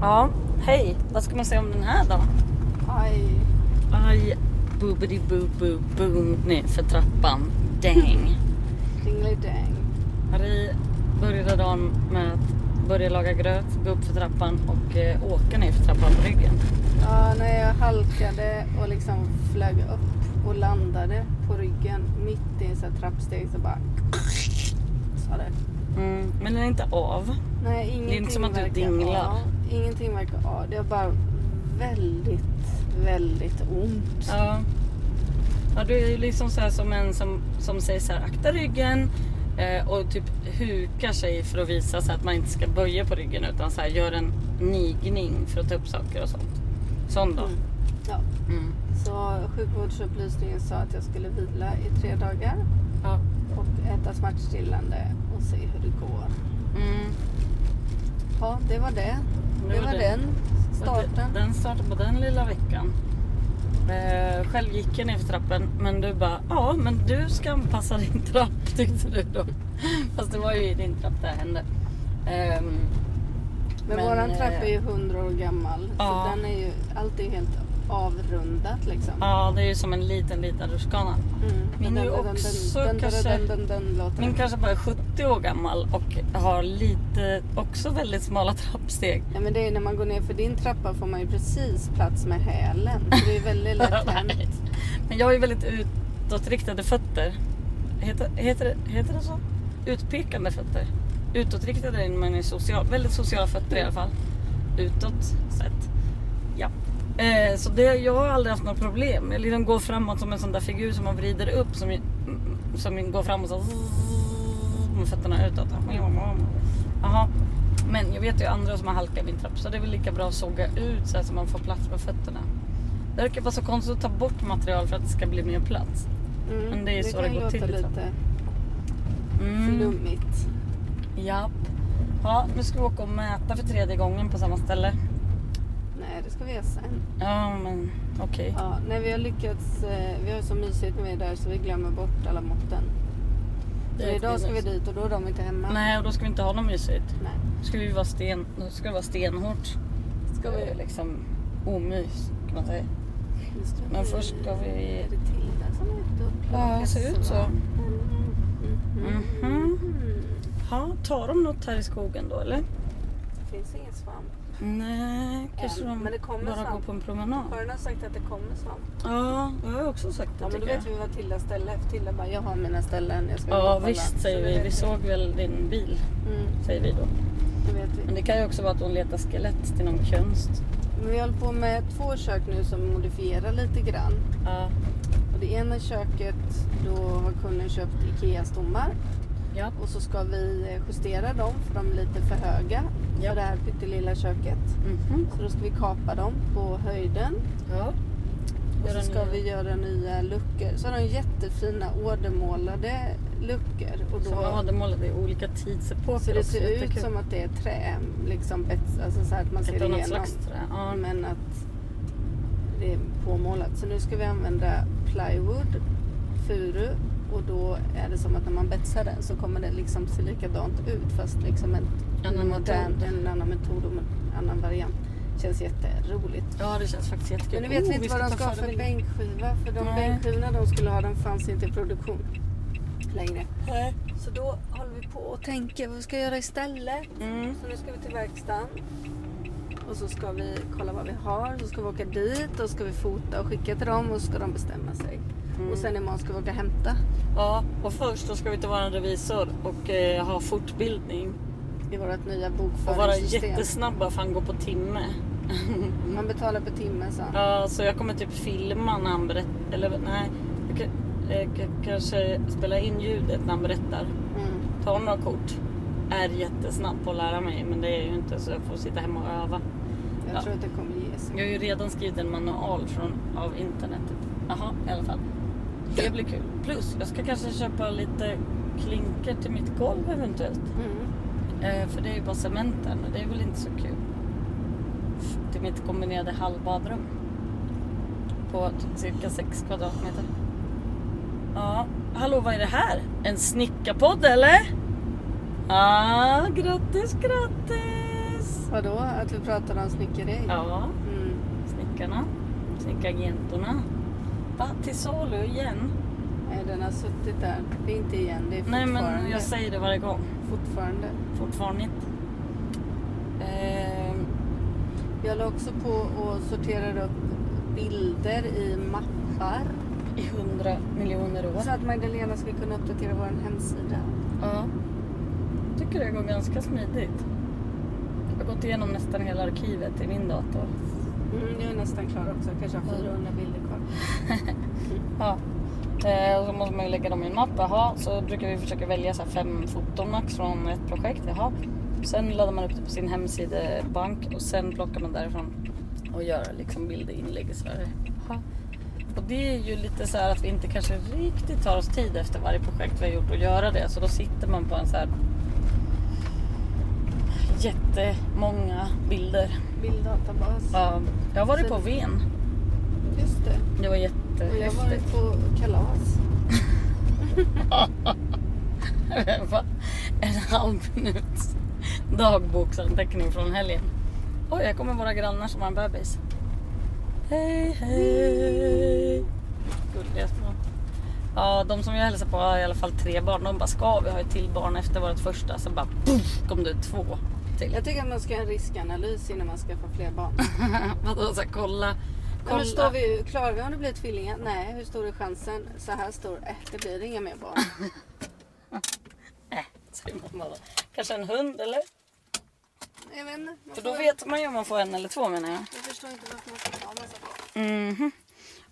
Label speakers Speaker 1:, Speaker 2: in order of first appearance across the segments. Speaker 1: Ja, hej. Vad ska man säga om den här då?
Speaker 2: Aj.
Speaker 1: Aj, boobidi boo boo boo nu för trappan. Dang.
Speaker 2: Dingelidang.
Speaker 1: Marie började dagen med att börja laga gröt, gå upp för trappan och eh, åka ner för trappan på ryggen.
Speaker 2: Ja, när jag halkade och liksom flög upp och landade på ryggen mitt i en sån här trappsteg så bara... Sa det.
Speaker 1: Mm, men den är inte av.
Speaker 2: Nej, ingenting
Speaker 1: inte som att du
Speaker 2: verkar
Speaker 1: dinglar.
Speaker 2: av. Ingenting verkar av. Det var bara väldigt, väldigt ont.
Speaker 1: Ja. ja, du är ju liksom så här som en som, som säger så här akta ryggen eh, och typ hukar sig för att visa så här att man inte ska böja på ryggen utan så här gör en nigning för att ta upp saker och sånt. Sån då.
Speaker 2: Mm. Ja.
Speaker 1: Mm.
Speaker 2: Så sjukvårdsupplysningen sa att jag skulle vila i tre dagar
Speaker 1: Ja.
Speaker 2: och äta smärtstillande och se hur det går.
Speaker 1: Mm.
Speaker 2: Ja, det var det.
Speaker 1: Det
Speaker 2: Det
Speaker 1: var
Speaker 2: var
Speaker 1: det.
Speaker 2: den
Speaker 1: Den-
Speaker 2: starten.
Speaker 1: Den startade på den lilla veckan. Eh, själv gick jag ner för trappen men du bara ja men du ska anpassa din trapp tyckte du då. Fast det var ju i din trapp det här hände. Ehm,
Speaker 2: Men,
Speaker 1: Men,
Speaker 2: våran
Speaker 1: eh,
Speaker 2: trappa är ju hundra år gammal
Speaker 1: ja.
Speaker 2: så den är ju, allt är ju helt avrundat liksom.
Speaker 1: ja det är ju som en liten liten rutschkana.
Speaker 2: Mm.
Speaker 1: Min är ju
Speaker 2: Dun, dun, dun,
Speaker 1: också
Speaker 2: dun, dun,
Speaker 1: kanske-
Speaker 2: dun, dun, dun, dun, låter
Speaker 1: Min
Speaker 2: det.
Speaker 1: kanske bara är 70 år gammal och har lite också väldigt smala trappsteg.
Speaker 2: Ja, men det är ju när man går ner för din trappa får man ju precis plats med hälen. Så det är väldigt lätt
Speaker 1: Nej.
Speaker 2: hänt.
Speaker 1: Men jag har ju väldigt utåtriktade fötter. Heter, heter, det- heter det så? Utpekande fötter. Utåtriktade när man är social. Väldigt sociala fötter i alla fall. Utåt sett. Ja. Eh, så det, jag har aldrig haft några problem. Jag liksom går framåt som en sån där figur som man vrider upp. Som, ju- mm, som går framåt så med fötterna utåt. Jaha. Men jag vet ju andra som har halkat i min trapp så det är väl lika bra att såga ut så, här, så man får plats med fötterna. Det verkar vara så konstigt att ta bort material för att det ska bli mer plats.
Speaker 2: Mm,
Speaker 1: Men det är ju så det
Speaker 2: kan
Speaker 1: går
Speaker 2: låta
Speaker 1: till, liksom.
Speaker 2: lite
Speaker 1: Mm.
Speaker 2: flummigt.
Speaker 1: Japp. Ja, nu ska vi åka och mäta för tredje gången på samma ställe.
Speaker 2: Nej, det ska vi göra sen.
Speaker 1: Ja, men okej.
Speaker 2: Ja, när vi har lyckats, eh, vi har ju så mysigt när vi är där så vi glömmer bort alla måtten. Så
Speaker 1: Det är
Speaker 2: idag ska vi
Speaker 1: skitmysigt.
Speaker 2: dit och då är de inte hemma.
Speaker 1: Nej, och då ska vi inte ha något mysigt.
Speaker 2: Nej.
Speaker 1: Då ska, vi vara sten... då ska det vara stenhårt.
Speaker 2: Ska
Speaker 1: Eh,
Speaker 2: vi?
Speaker 1: Liksom omys, kan man säga.
Speaker 2: Nu ska
Speaker 1: Men först ska vi-
Speaker 2: Är det Tilda som är ute och
Speaker 1: Ja, det ser ut så.
Speaker 2: kassorna?
Speaker 1: Mhm.
Speaker 2: Mm.
Speaker 1: Ja, tar de något här i skogen då, eller?
Speaker 2: Det finns ingen svamp.
Speaker 1: Nej, kanske
Speaker 2: Än,
Speaker 1: de
Speaker 2: men det kommer
Speaker 1: bara
Speaker 2: snart.
Speaker 1: går på en promenad.
Speaker 2: Har någon sagt att det kommer svamp?
Speaker 1: Ja, jag har också sagt det
Speaker 2: Ja, men då
Speaker 1: tycker
Speaker 2: vet
Speaker 1: jag.
Speaker 2: vi vad Tildas ställe är. för Tilda bara, jag har mina ställen. Jag ska gå och
Speaker 1: Ja,
Speaker 2: kolla."
Speaker 1: visst
Speaker 2: Så
Speaker 1: säger
Speaker 2: det
Speaker 1: vi.
Speaker 2: vet
Speaker 1: Vi såg väl din bil,
Speaker 2: Mm,
Speaker 1: säger vi då.
Speaker 2: det vet vi.
Speaker 1: Men det kan ju också vara att hon letar skelett till någon konst.
Speaker 2: Men vi håller på med två kök nu som modifierar lite grann.
Speaker 1: Ja.
Speaker 2: Och det ena köket, då har kunden köpt IKEA-stommar.
Speaker 1: Ja.
Speaker 2: Och så ska vi eh, justera dem för de är lite för höga
Speaker 1: Ja.
Speaker 2: för det här pyttelilla köket.
Speaker 1: Mhm.
Speaker 2: Så då ska vi kapa dem på höjden.
Speaker 1: Ja.
Speaker 2: Och
Speaker 1: Göra
Speaker 2: så ska
Speaker 1: nya.
Speaker 2: vi göra nya luckor. Så har de jättefina ordermålade luckor. Och
Speaker 1: Som
Speaker 2: då,
Speaker 1: hade målat i olika tidsepoker
Speaker 2: så det
Speaker 1: också.
Speaker 2: ser ut
Speaker 1: Jättekul.
Speaker 2: som att det är trä. Liksom, bets- alltså så här att man ser
Speaker 1: ett annat
Speaker 2: igenom. Mm.
Speaker 1: slags trä. Ja.
Speaker 2: Men att det är påmålat. Så nu ska vi använda plywood, furu. Och då är det som att när man betsar den så kommer det liksom se likadant ut fast liksom en,
Speaker 1: Annan
Speaker 2: modern,
Speaker 1: metod.
Speaker 2: en annan metod och en annan variant. Känns jätteroligt.
Speaker 1: ja, det känns faktiskt jättekul. Oh,
Speaker 2: Men nu vet vi inte
Speaker 1: ska
Speaker 2: vad de
Speaker 1: ta
Speaker 2: ska ha för
Speaker 1: förebilder.
Speaker 2: bänkskiva. För de
Speaker 1: Nej.
Speaker 2: bänkskivorna de skulle ha, de fanns inte i produktion längre.
Speaker 1: Nej.
Speaker 2: Så då håller vi på och tänker vad vi ska göra istället.
Speaker 1: Mm.
Speaker 2: Så nu ska vi till verkstaden. Och så ska vi kolla vad vi har. Så ska vi åka dit och ska vi fota och skicka till dem och så ska de bestämma sig.
Speaker 1: Mm.
Speaker 2: Och sen imorgon ska vi åka och hämta
Speaker 1: Ja, och först då ska vi till vår revisor och eh, ha fortbildning.
Speaker 2: i vårt nya
Speaker 1: Och vara
Speaker 2: bokföringssystem.
Speaker 1: jättesnabba för han går på timme.
Speaker 2: Man betalar per timme så.
Speaker 1: Ja, så jag kommer typ filma när han berättar. Eller nej, jag kan- eh, k- kanske spela in ljudet när han berättar.
Speaker 2: Mm.
Speaker 1: Ta några kort. Är jättesnabb på att lära mig men det är ju inte så jag får sitta hemma och öva.
Speaker 2: Jag
Speaker 1: Ja.
Speaker 2: tror att det kommer ge sig.
Speaker 1: Jag har ju redan skrivit en manual från, av internetet. Jaha, i alla fall. Det blir kul. Plus, jag ska kanske köpa lite klinker till mitt golv eventuellt.
Speaker 2: Mm.
Speaker 1: Eh, för det är ju bara cementen och det är väl inte så kul. Till mitt kombinerade halvbadrum. På typ cirka 6 kvadratmeter. Ja, hallå vad är det här? En snickarpodd eller? Ja, ah, grattis, grattis!
Speaker 2: Vadå? Att vi pratar om snickeri?
Speaker 1: Ja,
Speaker 2: Mm.
Speaker 1: snickarna. Snickargentorna. Va? Till salu igen?
Speaker 2: Nej, den har suttit där. Det är inte igen, det är
Speaker 1: Nej
Speaker 2: fortfarande.
Speaker 1: men jag säger det varje gång.
Speaker 2: fortfarande.
Speaker 1: Fortfarande inte. Ehm,
Speaker 2: Jag la också på och sorterade upp bilder i mappar.
Speaker 1: I hundra miljoner år.
Speaker 2: Så att Magdalena ska kunna uppdatera vår hemsida.
Speaker 1: Ja. Tycker det går ganska smidigt. Jag har gått igenom nästan hela arkivet i min dator.
Speaker 2: Mm, jag är nästan klar också. Jag kanske har 400 bilder kvar. Mm.
Speaker 1: Ja. Eh, och så måste man ju lägga dem i en mapp. Jaha, så brukar vi försöka välja så här fem foton max från ett projekt. Jaha. Sen laddar man upp det på sin hemsidebank och sen plockar man därifrån och gör liksom bildinlägg och sådär. Jaha. Och det är ju lite så här att vi inte kanske riktigt tar oss tid efter varje projekt vi har gjort att göra det. Så då sitter man på en så här jättemånga bilder.
Speaker 2: Bilddatabas.
Speaker 1: Ja, jag har varit på Ven.
Speaker 2: Just det.
Speaker 1: Det var
Speaker 2: Och jag har
Speaker 1: jättehäftigt.
Speaker 2: varit på kalas.
Speaker 1: Va? en halv minuts dagboksanteckning från helgen. Oj, här kommer våra grannar som har en bebis. Hej, hej! Gulliga små. Ja, de som jag hälsar på har i alla fall tre barn. De bara, ska vi ha ett till barn efter vårt första? Sen bara, puff, kom det två till.
Speaker 2: Jag tycker att man ska göra en riskanalys innan man skaffar fler barn.
Speaker 1: Vadå, så här, kolla.
Speaker 2: Nej,
Speaker 1: kolla.
Speaker 2: men står vi, klarar vi om det blir tvillingar? Nej, hur stor är chansen? Så här stor. Eh, det blir inga mer barn.
Speaker 1: Äh, säger mamma då. Kanske en hund eller?
Speaker 2: Jag vet inte. Man
Speaker 1: För då
Speaker 2: får-
Speaker 1: vet man ju om man får en eller två menar jag.
Speaker 2: Jag förstår inte varför man ska ha massa barn.
Speaker 1: Mhm.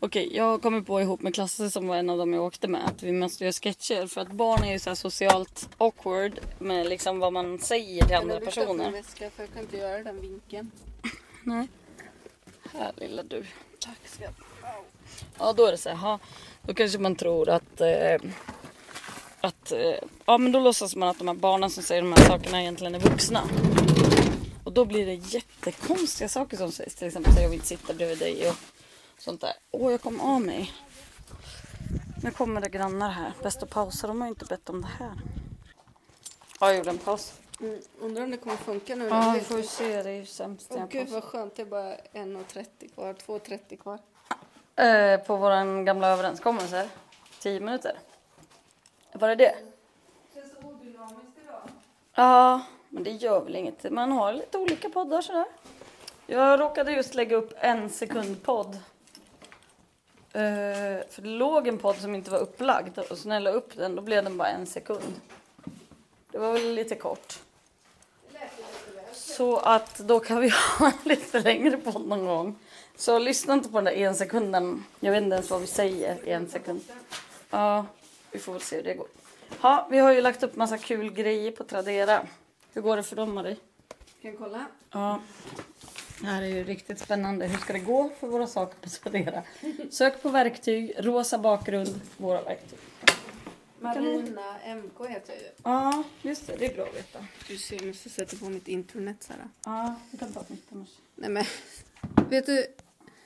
Speaker 1: Okej, jag kommer på ihop med Klasse som var en av dem jag åkte med att vi måste göra sketcher för att barn är ju så här socialt awkward med liksom vad man säger till andra
Speaker 2: Jag lyfter upp min
Speaker 1: personer.
Speaker 2: väska för jag kan inte göra den vinkeln.
Speaker 1: Nej. Här lilla du.
Speaker 2: Tack ska jag ha.
Speaker 1: Ja, då är det så här, ha, då kanske man tror att eh, att eh, ja, men då låtsas man att de här barnen som säger de här sakerna egentligen är vuxna. Och då blir det jättekonstiga saker som sägs. Till exempel att jag vill inte sitta bredvid dig och sånt där. Åh, jag kom av mig. Nu kommer det grannar här. Bäst att pausa. De har ju inte bett om det här. Ja, jag gjorde en paus.
Speaker 2: Mm, undrar om det kommer funka nu.
Speaker 1: Ja, vi får ju se. Det är ju sämst. när
Speaker 2: Åh
Speaker 1: jag
Speaker 2: gud
Speaker 1: pausar.
Speaker 2: vad skönt, det är bara 1.30 kvar, 2.30 kvar.
Speaker 1: Eh, på vår gamla överenskommelse. 10 minuter. Var det det? Ja, men det gör väl inget. Man har lite olika poddar sådär. Jag råkade just lägga upp en sekundpodd. Eh, för det låg en podd som inte var upplagd och så när jag la upp den då blev den bara en sekund. Det var väl lite kort. Så att då kan vi ha en lite längre podd någon gång. Så lyssna inte på den där en sekunden. Jag vet inte ens vad vi säger i en sekund. Ja, vi får väl se hur det går. Ja, vi har ju lagt upp massa kul grejer på Tradera. Hur går det för dem Marie?
Speaker 2: Kan jag kolla?
Speaker 1: Ja. Det här är ju riktigt spännande. Hur ska det gå för våra saker på Tradera? Sök på verktyg, rosa bakgrund, våra verktyg.
Speaker 2: Marina MK heter jag ju.
Speaker 1: Ja, just det. Det är bra att veta.
Speaker 2: Du ser, jag måste sätta på mitt internet Sara.
Speaker 1: Ja, du kan ta mitt annars.
Speaker 2: Nej men, vet du,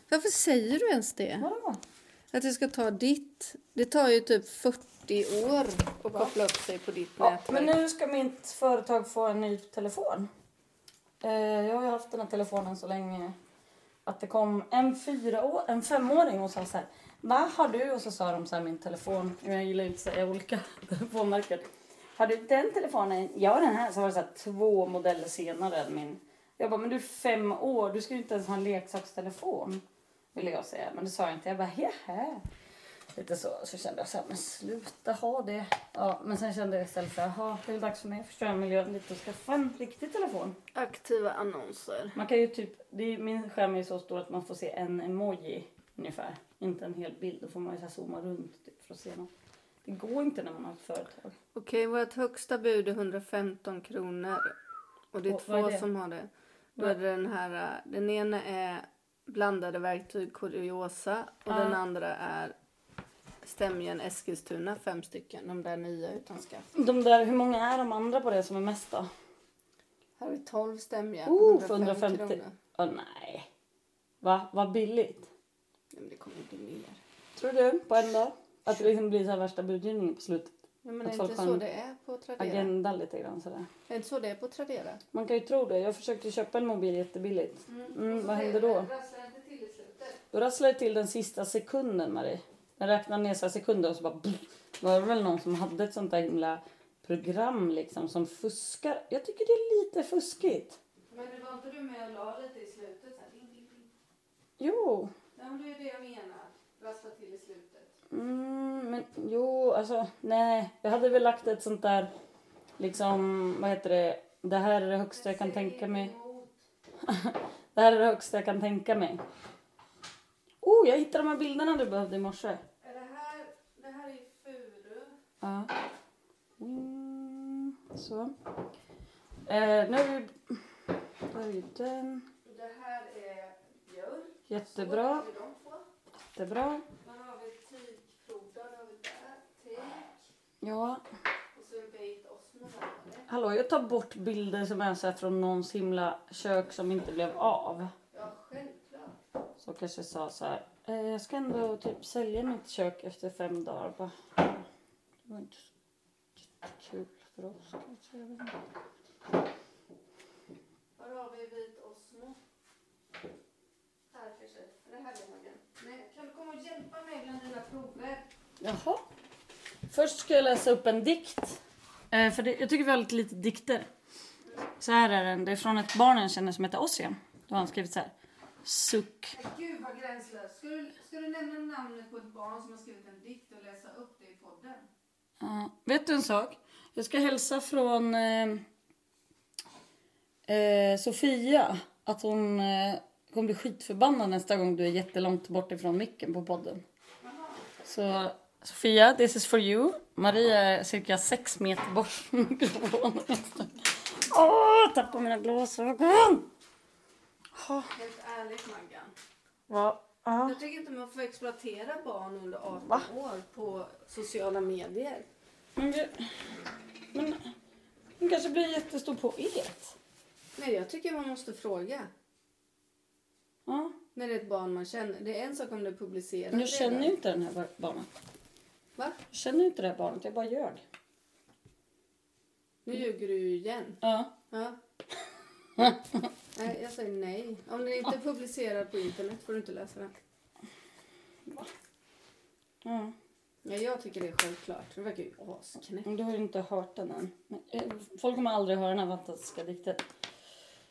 Speaker 2: varför säger du ens det?
Speaker 1: Vadå?
Speaker 2: Att jag ska ta ditt? Det tar ju typ 40 år att koppla upp sig på ditt
Speaker 1: Ja,
Speaker 2: nätverk.
Speaker 1: men nu ska mitt företag få en ny telefon. Eh, jag har ju haft den här telefonen så länge att det kom en, fyra år, en femåring och sa så här. Vad har du? Och så sa de så här min telefon. Jag gillar ju inte att säga olika telefonmärken. Har du den telefonen? Ja den här. Så var det så här två modeller senare än min. Jag bara men du är fem år. Du ska ju inte ens ha en leksakstelefon. Ville jag säga. Men det sa jag inte. Jag bara hehe. Lite så, så kände jag så här, men sluta ha det. Ja, men sen kände jag istället för, jaha, det är dags för mig att förstöra miljön lite och skaffa en riktig telefon.
Speaker 2: Aktiva annonser.
Speaker 1: Man kan ju typ, det är, min skärm är så stor att man får se en emoji ungefär. Inte en hel bild, då får man ju så här zooma runt typ, för att se något. Det går inte när man har ett företag.
Speaker 2: Okej, vårt högsta bud är 115 kronor. Och det är
Speaker 1: Och vad
Speaker 2: två
Speaker 1: är det?
Speaker 2: som har det. Då är det den här, eh, den ena är blandade verktyg, kuriosa. Och
Speaker 1: Ja.
Speaker 2: den andra är stämjen Eskilstuna, fem stycken. De där nya utan skaft.
Speaker 1: De där, hur många är de andra på det som är mest då?
Speaker 2: Här har vi 12 stämjen.
Speaker 1: Oh,
Speaker 2: 105
Speaker 1: för 150.
Speaker 2: kronor.
Speaker 1: Åh nej. Va? Vad billigt.
Speaker 2: Nej, men det kommer inte mer.
Speaker 1: Tror du? På en dag? Att det liksom blir så här värsta budgivningen på slutet.
Speaker 2: Men är
Speaker 1: Att
Speaker 2: det
Speaker 1: folk
Speaker 2: inte
Speaker 1: har
Speaker 2: så
Speaker 1: en
Speaker 2: det är på Tradera?
Speaker 1: Agenda lite grann sådär.
Speaker 2: Är det inte så det är på Tradera?
Speaker 1: Man kan ju tro det. Jag försökte köpa en mobil jättebilligt. Mm, vad händer då? Då rasslade det till den sista sekunden, Marie. Den räknade ner sig sekunder och så bara... pff, var det väl någon som hade ett sånt där himla program liksom som fuskar. Jag tycker det är lite fuskigt.
Speaker 2: Men det var inte du med och la lite i slutet? Så här, ding, ding, ding.
Speaker 1: Jo.
Speaker 2: Nej, men det är det jag menar. Rassla till i slutet.
Speaker 1: Mm, men jo, alltså nej. Jag hade väl lagt ett sånt där liksom, vad heter det? Det här är det högsta jag kan tänka mig. Det här är det högsta jag kan tänka mig. Oh, jag hittade de här bilderna du behövde i morse.
Speaker 2: Är det, här, det här är Furu.
Speaker 1: Ja. Mm, så. Eh, nu är vi... Där är ju den.
Speaker 2: Det här är björk.
Speaker 1: Jättebra.
Speaker 2: Så där har vi de två.
Speaker 1: Jättebra.
Speaker 2: Sen har vi tygproddar, har vi där. Teak.
Speaker 1: Ja.
Speaker 2: Och så är det Beit Osmo. där, eller?
Speaker 1: Hallå, jag tar bort bilder som är så här från någons himla kök som inte blev av.
Speaker 2: Ja, självklart.
Speaker 1: Så kanske jag sa så här. Eh, jag ska ändå typ sälja mitt kök efter fem dagar. Bara, det var inte så kul för oss kanske. Jag vet inte.
Speaker 2: Var har vi vit Osmo? Här kanske. Är Det här vägen. Nej, kan du komma och hjälpa mig bland dina prover?
Speaker 1: Jaha. Först ska jag läsa upp en dikt. Eh, för det, jag tycker vi har lite, lite dikter. Så här är den. Det är från ett barn jag känner som heter Ossian. Då har han skrivit så här. Suck.
Speaker 2: Nej, Gud vad gränslöst. Ska du, ska du nämna namnet på ett barn som har skrivit en dikt och läsa upp det i podden?
Speaker 1: Ja, vet du en sak? Jag ska hälsa från eh, eh, Sofia att hon eh, kommer bli skitförbannad nästa gång du är jättelångt bort ifrån micken på podden. Så Sofia, this is for you. Maria är cirka sex meter bort från mikrofonen. Åh, tappar mina glasögon! Ja,
Speaker 2: Helt ärligt Maggan.
Speaker 1: ja, ja.
Speaker 2: Jag tycker inte man får exploatera barn under 18
Speaker 1: Va?
Speaker 2: år på sociala medier.
Speaker 1: Men, vi- men hon kanske blir jättestor på et.
Speaker 2: Nej, jag tycker man måste fråga.
Speaker 1: Ja.
Speaker 2: När det är ett barn man känner. Det är en sak om det är publicerat.
Speaker 1: Men jag känner ju
Speaker 2: redan.
Speaker 1: inte den här bar- barnet.
Speaker 2: Va?
Speaker 1: Jag känner ju inte det här barnet, jag bara gör det.
Speaker 2: Nu ljuger du ju igen.
Speaker 1: Ja.
Speaker 2: Ja. nej, jag säger nej. Om den inte är publicerad på internet får du inte läsa den.
Speaker 1: ja.
Speaker 2: Ja, jag tycker det är självklart. Det verkar ju asknäppt.
Speaker 1: Men Du har ju inte hört den än. Men, eh, Folk kommer aldrig höra den här fantastiska dikten.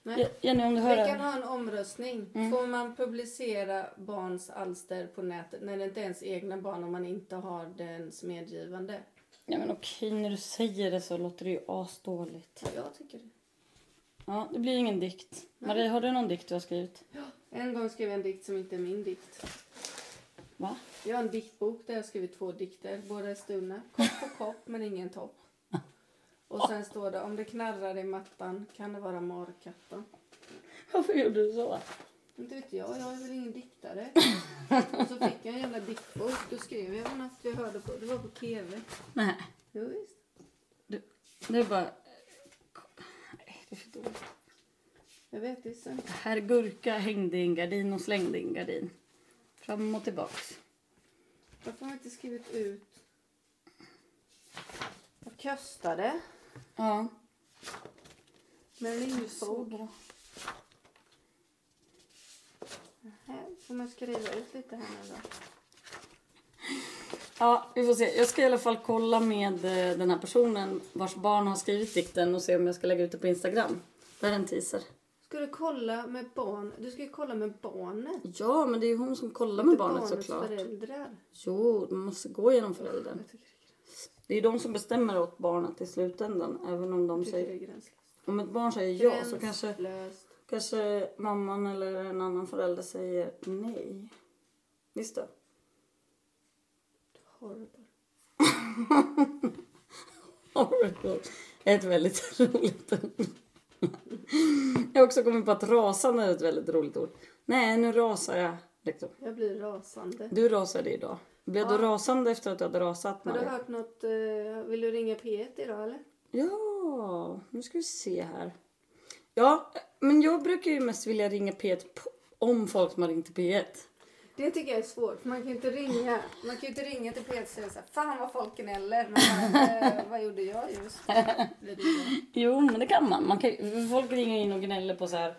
Speaker 2: Nej.
Speaker 1: Je- Jenny, om du hör
Speaker 2: Vi kan
Speaker 1: den.
Speaker 2: ha en omröstning. Får man publicera barns alster på nätet när det inte är ens egna barn om man inte har dens medgivande?
Speaker 1: Ja, men okej, när du säger det så låter det ju asdåligt.
Speaker 2: Ja, jag tycker det.
Speaker 1: Ja, det blir ingen dikt. Marie, har du någon dikt du har skrivit?
Speaker 2: En gång skrev jag en dikt som inte är min dikt.
Speaker 1: Va?
Speaker 2: Jag har en diktbok där jag har skrivit två dikter. Båda är stulna. Kopp på kopp men ingen topp. Och sen står det om det knarrar i mattan kan det vara markatten.
Speaker 1: Varför gjorde du så?
Speaker 2: Inte vet jag, jag är väl ingen diktare. Och så fick jag en jävla diktbok. Då skrev jag något jag hörde på. Det var på tv.
Speaker 1: Nej,
Speaker 2: Jo, visst.
Speaker 1: det är bara... Nej, det är för dåligt.
Speaker 2: Jag vet, det är sant.
Speaker 1: Herr Gurka hängde i en gardin och slängde i en gardin. Fram och tillbaks.
Speaker 2: Varför har jag inte skrivit ut? Jag köstade
Speaker 1: Ja.
Speaker 2: med
Speaker 1: Så
Speaker 2: limfog.
Speaker 1: bra.
Speaker 2: Här får man skriva ut lite här nu då.
Speaker 1: Ja, vi får se. Jag ska i alla fall kolla med eh, den här personen vars barn har skrivit dikten och se om jag ska lägga ut det på Instagram. Det här är en teaser.
Speaker 2: Ska du kolla med barn? Du ska ju kolla med barnet.
Speaker 1: Ja, men det är ju hon som kollar med
Speaker 2: Inte
Speaker 1: barnet
Speaker 2: barnets
Speaker 1: såklart.
Speaker 2: föräldrar.
Speaker 1: Jo, man måste gå genom föräldern.
Speaker 2: Jag tycker det är-
Speaker 1: Det är de som bestämmer åt barnet i slutändan. Även om de
Speaker 2: jag tycker
Speaker 1: säger...
Speaker 2: det är gränslöst.
Speaker 1: Om ett barn säger ja så kanske,
Speaker 2: Gränslöst.
Speaker 1: kanske mamman eller en annan förälder säger nej. Visst då?
Speaker 2: Horrible.
Speaker 1: Oracle. Ett väldigt roligt ord. Jag har också kommit på att rasande är ett väldigt roligt ord. Nej, nu rasar jag. Liksom.
Speaker 2: Jag blir rasande.
Speaker 1: Du rasade idag. Blev du
Speaker 2: Ja.
Speaker 1: rasande efter att du hade rasat?
Speaker 2: Har du
Speaker 1: Maria?
Speaker 2: hört något? eh, vill du ringa P1 idag eller?
Speaker 1: Ja, nu ska vi se här. Ja, men jag brukar ju mest vilja ringa P1 på- om folk som har ringt till P1.
Speaker 2: Det tycker jag är svårt. för Man kan ju inte ringa, man kan ju inte ringa till Peter och säga så här, Fan vad folk gnäller. Man bara, "Eh, vad gjorde jag just? Det blir det.
Speaker 1: Jo, men det kan man. man kan, ju- folk ringer in och gnäller på så här.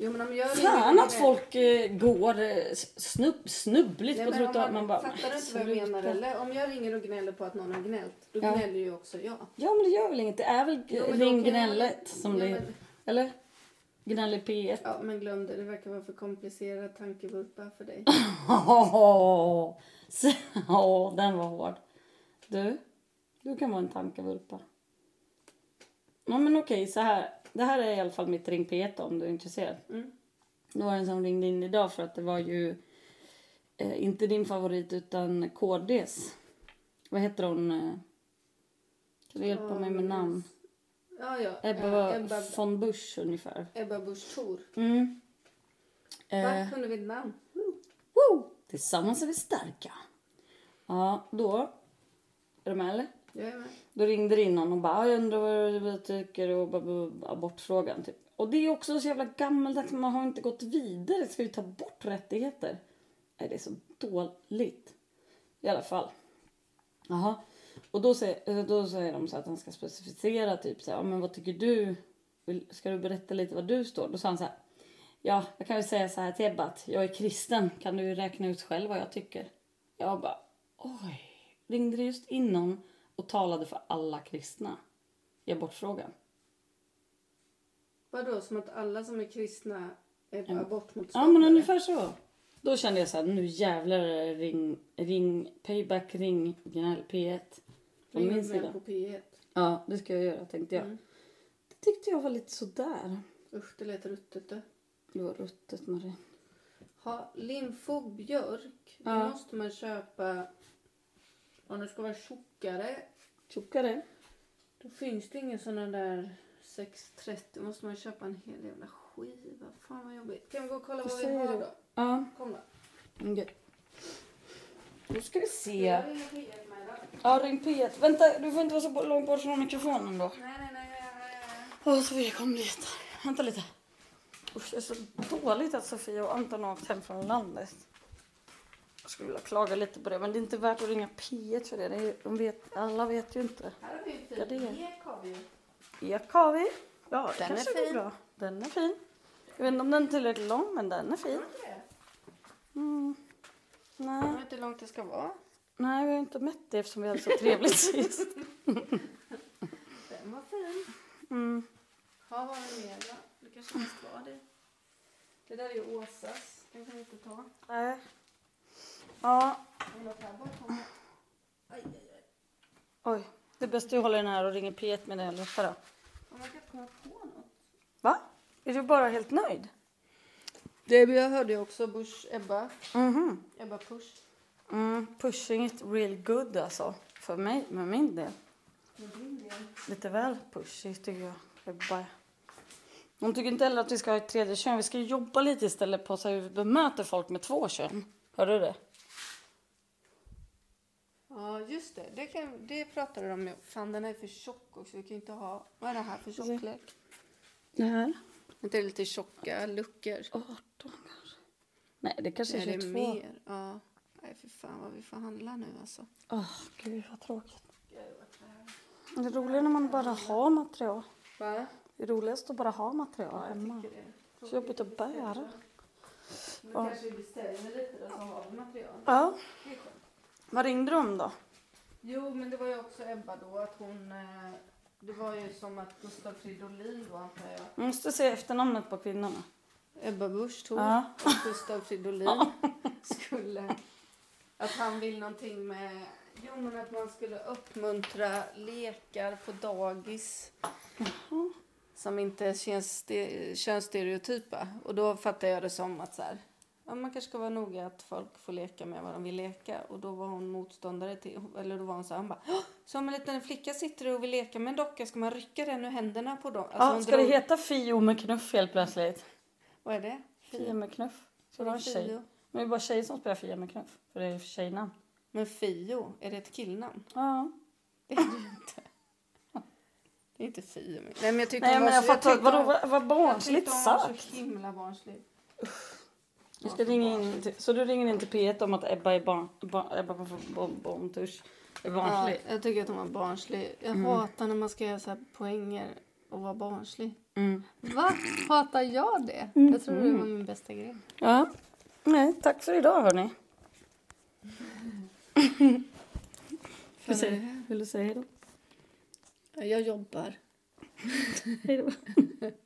Speaker 2: Jo men om jag ringer
Speaker 1: Fan att
Speaker 2: till-
Speaker 1: folk eh, går eh, snubb, snubbligt
Speaker 2: Nej,
Speaker 1: på
Speaker 2: men om
Speaker 1: trottoaren. Man bara...
Speaker 2: fattar du inte vad
Speaker 1: sluta.
Speaker 2: jag menar eller? Om jag ringer och gnäller på att någon har gnällt, då
Speaker 1: Ja.
Speaker 2: gnäller ju också jag.
Speaker 1: Ja, men det gör väl inget. Det är väl
Speaker 2: Jo,
Speaker 1: jo,
Speaker 2: men då
Speaker 1: ring
Speaker 2: kan jag-
Speaker 1: gnället som
Speaker 2: Ja,
Speaker 1: det
Speaker 2: men-
Speaker 1: Eller? Gnäll i P1.
Speaker 2: Ja men glöm det, det verkar vara för komplicerad tankevurpa för dig.
Speaker 1: Åh, den var hård. Du, du kan vara en tankevurpa. Ja, men okej, så här. Det här är i alla fall mitt ring P1 om du är intresserad.
Speaker 2: Mm.
Speaker 1: Det var en som ringde in idag för att det var ju eh, inte din favorit utan KDs. Vad heter hon? eh? Kan du hjälpa mig med namn?
Speaker 2: Ja ja,
Speaker 1: Ebba,
Speaker 2: eh, Ebba,
Speaker 1: von Busch ungefär.
Speaker 2: Ebba Busch Thor.
Speaker 1: Mm.
Speaker 2: Va?
Speaker 1: Eh,
Speaker 2: Kunde vi ett namn?
Speaker 1: Woo! Tillsammans är vi starka. Ja, då... Är du med eller?
Speaker 2: Jag är med.
Speaker 1: Då ringde det in någon och bara "Ah, jag undrar vad du tycker och bara- bara- bara abortfrågan typ. Och det är också så jävla gammaldags, man har inte gått vidare. Ska vi ta bort rättigheter? Nej, det är så dåligt. I alla fall. Jaha. Och då säger, då säger de så att han ska specificera typ så här, "Ja, men vad tycker du? Vill- Ska du berätta lite vad du står? Då sa han så här, ja, jag kan ju säga så här till Ebba att jag är kristen. Kan du räkna ut själv vad jag tycker? Jag bara, oj. Ringde det just in någon och talade för alla kristna i abortfrågan?
Speaker 2: Vadå, som att alla som är kristna är
Speaker 1: Ja. Ja,
Speaker 2: abortmotståndare?
Speaker 1: men ungefär så. Då kände jag så här, nu jävlar är det ring, ring, payback, ring, gnäll, P1. Från
Speaker 2: Ring
Speaker 1: min
Speaker 2: och gnäll
Speaker 1: sida.
Speaker 2: på P1.
Speaker 1: Ja, det ska jag göra tänkte jag.
Speaker 2: Mm.
Speaker 1: Det tyckte jag var lite sådär.
Speaker 2: Usch, det lät ruttet du.
Speaker 1: Det var ruttet Marie.
Speaker 2: Ha, Limfo björk,
Speaker 1: Ja.
Speaker 2: då måste man köpa... Om du ska vara tjockare,
Speaker 1: Tjockare.
Speaker 2: då finns det inga såna där 6,30. måste man köpa en hel jävla skiva. Fan vad jobbigt. Kan vi gå och kolla
Speaker 1: Vad
Speaker 2: vad vi
Speaker 1: säger
Speaker 2: har
Speaker 1: du?
Speaker 2: då?
Speaker 1: Ja,
Speaker 2: Kom då.
Speaker 1: okej. Då ska vi
Speaker 2: Jag
Speaker 1: se.
Speaker 2: ringer P1 med då.
Speaker 1: Ja, ring P1. Vänta, du får inte vara så bo- långt bort från mikrofonen då.
Speaker 2: Nej, nej, nej. nej, nej, nej.
Speaker 1: Åh, Sofia kom dit. Vänta lite. Usch, det är så dåligt att Sofia och Anton har åkt hem från landet. Jag skulle vilja klaga lite på det, men det är inte värt att ringa P1 för det. det är, ju- de vet, alla vet ju inte.
Speaker 2: Här har vi ju
Speaker 1: Ja, det är-
Speaker 2: fin ek har vi ju.
Speaker 1: Ek har vi. Ja, det
Speaker 2: Den är
Speaker 1: kanske går
Speaker 2: fin.
Speaker 1: bra. Den är fin. Jag vet inte om den är tillräckligt lång, men den är fin.
Speaker 2: Har du det?
Speaker 1: Mm.
Speaker 2: Jag
Speaker 1: Nej.
Speaker 2: vet inte hur långt det ska vara.
Speaker 1: Nej, vi har inte mätt det eftersom vi hade så trevligt sist.
Speaker 2: Den var fin.
Speaker 1: Mm.
Speaker 2: Ha, vad har vi mer då? Det kanske finns kvar det. Det där är ju Åsas. Den kan vi inte ta.
Speaker 1: Nej. Ja,
Speaker 2: Och låt här bara komma. Aj, aj, aj.
Speaker 1: oj. Det är bäst du håller den här och ringer P1 medan jag letar då.
Speaker 2: Om man kan komma på något.
Speaker 1: Va? Är du bara helt nöjd?
Speaker 2: Det jag hörde ju också Bush, Ebba.
Speaker 1: Mhm.
Speaker 2: Ebba Push.
Speaker 1: Mm, pushing it real good alltså. För mig, med min del.
Speaker 2: Med din del.
Speaker 1: Lite väl pushy tycker jag. jag bara... De tycker inte heller att vi ska ha ett tredje kön. Vi ska ju jobba lite istället på så här hur vi bemöter folk med två kön. Hör du det?
Speaker 2: Ja, just det. Det, kan, det pratade de om. ju. Fan, den här är för tjock också. Vi kan ju inte ha... Vad är det här för tjocklek?
Speaker 1: Det här?
Speaker 2: Inte det är lite tjocka luckor?
Speaker 1: 18 kanske. Nej, det kanske
Speaker 2: Nej,
Speaker 1: är
Speaker 2: det
Speaker 1: 22.
Speaker 2: är mer. Ja. Nej, för fan vad vi får handla nu alltså.
Speaker 1: Åh, gud vad tråkigt. Det är roligare när man bara har material.
Speaker 2: Va?
Speaker 1: Det är roligast att bara ha material hemma. Så jobbigt att bära.
Speaker 2: Men
Speaker 1: Ja.
Speaker 2: kanske vi beställer lite då så har vi material.
Speaker 1: Ja,
Speaker 2: Det är skönt.
Speaker 1: vad ringde du om då?
Speaker 2: Jo, men det var ju också Ebba då att hon... eh, Det var ju som att Gustav Fridolin då antar jag.
Speaker 1: Jag måste se efternamnet på kvinnorna.
Speaker 2: Ebba Busch Thor
Speaker 1: Ja.
Speaker 2: och Gustav Fridolin skulle... Att han vill någonting med... Jo, men att man skulle uppmuntra lekar på dagis som inte känns ste- könsstereotypa. Och då fattar jag det som att så här, ja, man kanske ska vara noga att folk får leka med vad de vill leka. Och då var hon motståndare till... Eller då var hon så här, hon bara... "Åh, Så om en liten flicka sitter och vill leka med en docka, ska man rycka den ur händerna på dem? Alltså,
Speaker 1: ja,
Speaker 2: hon
Speaker 1: ska
Speaker 2: drog-
Speaker 1: det heta Fio med knuff helt plötsligt?
Speaker 2: Vad är det?
Speaker 1: Fia med knuff. Ska det vara en tjej?
Speaker 2: Fio.
Speaker 1: Men det är bara tjejer som spelar Fia med knuff. För det är tjejnamn.
Speaker 2: Men Fio, är det ett killnamn?
Speaker 1: Ja.
Speaker 2: Det är det ju inte. Det är inte Fio. men- Nej men jag tyckte
Speaker 1: Nej
Speaker 2: hon
Speaker 1: men
Speaker 2: var
Speaker 1: jag
Speaker 2: så-
Speaker 1: fattar.
Speaker 2: tyckte
Speaker 1: Vadå
Speaker 2: hon-
Speaker 1: vad, vad
Speaker 2: jag tyckte
Speaker 1: barnsligt
Speaker 2: hon var
Speaker 1: sagt?
Speaker 2: så himla barnslig.
Speaker 1: Du ska ringa in till, så du ringer in till P1 om att Ebba är barn, barn, Ebba på barn, barntusch, är barnslig? Mm.
Speaker 2: Ja, jag tycker att hon var barnslig. Jag hatar när man ska göra så här poänger och vara barnslig.
Speaker 1: Mm.
Speaker 2: Va? Hatar jag det? Jag tror det var min bästa grej.
Speaker 1: Ja. Nej, tack för idag hörni. Vill du säga- Vill du säga hej då?
Speaker 3: Jag jobbar.
Speaker 1: Hej då.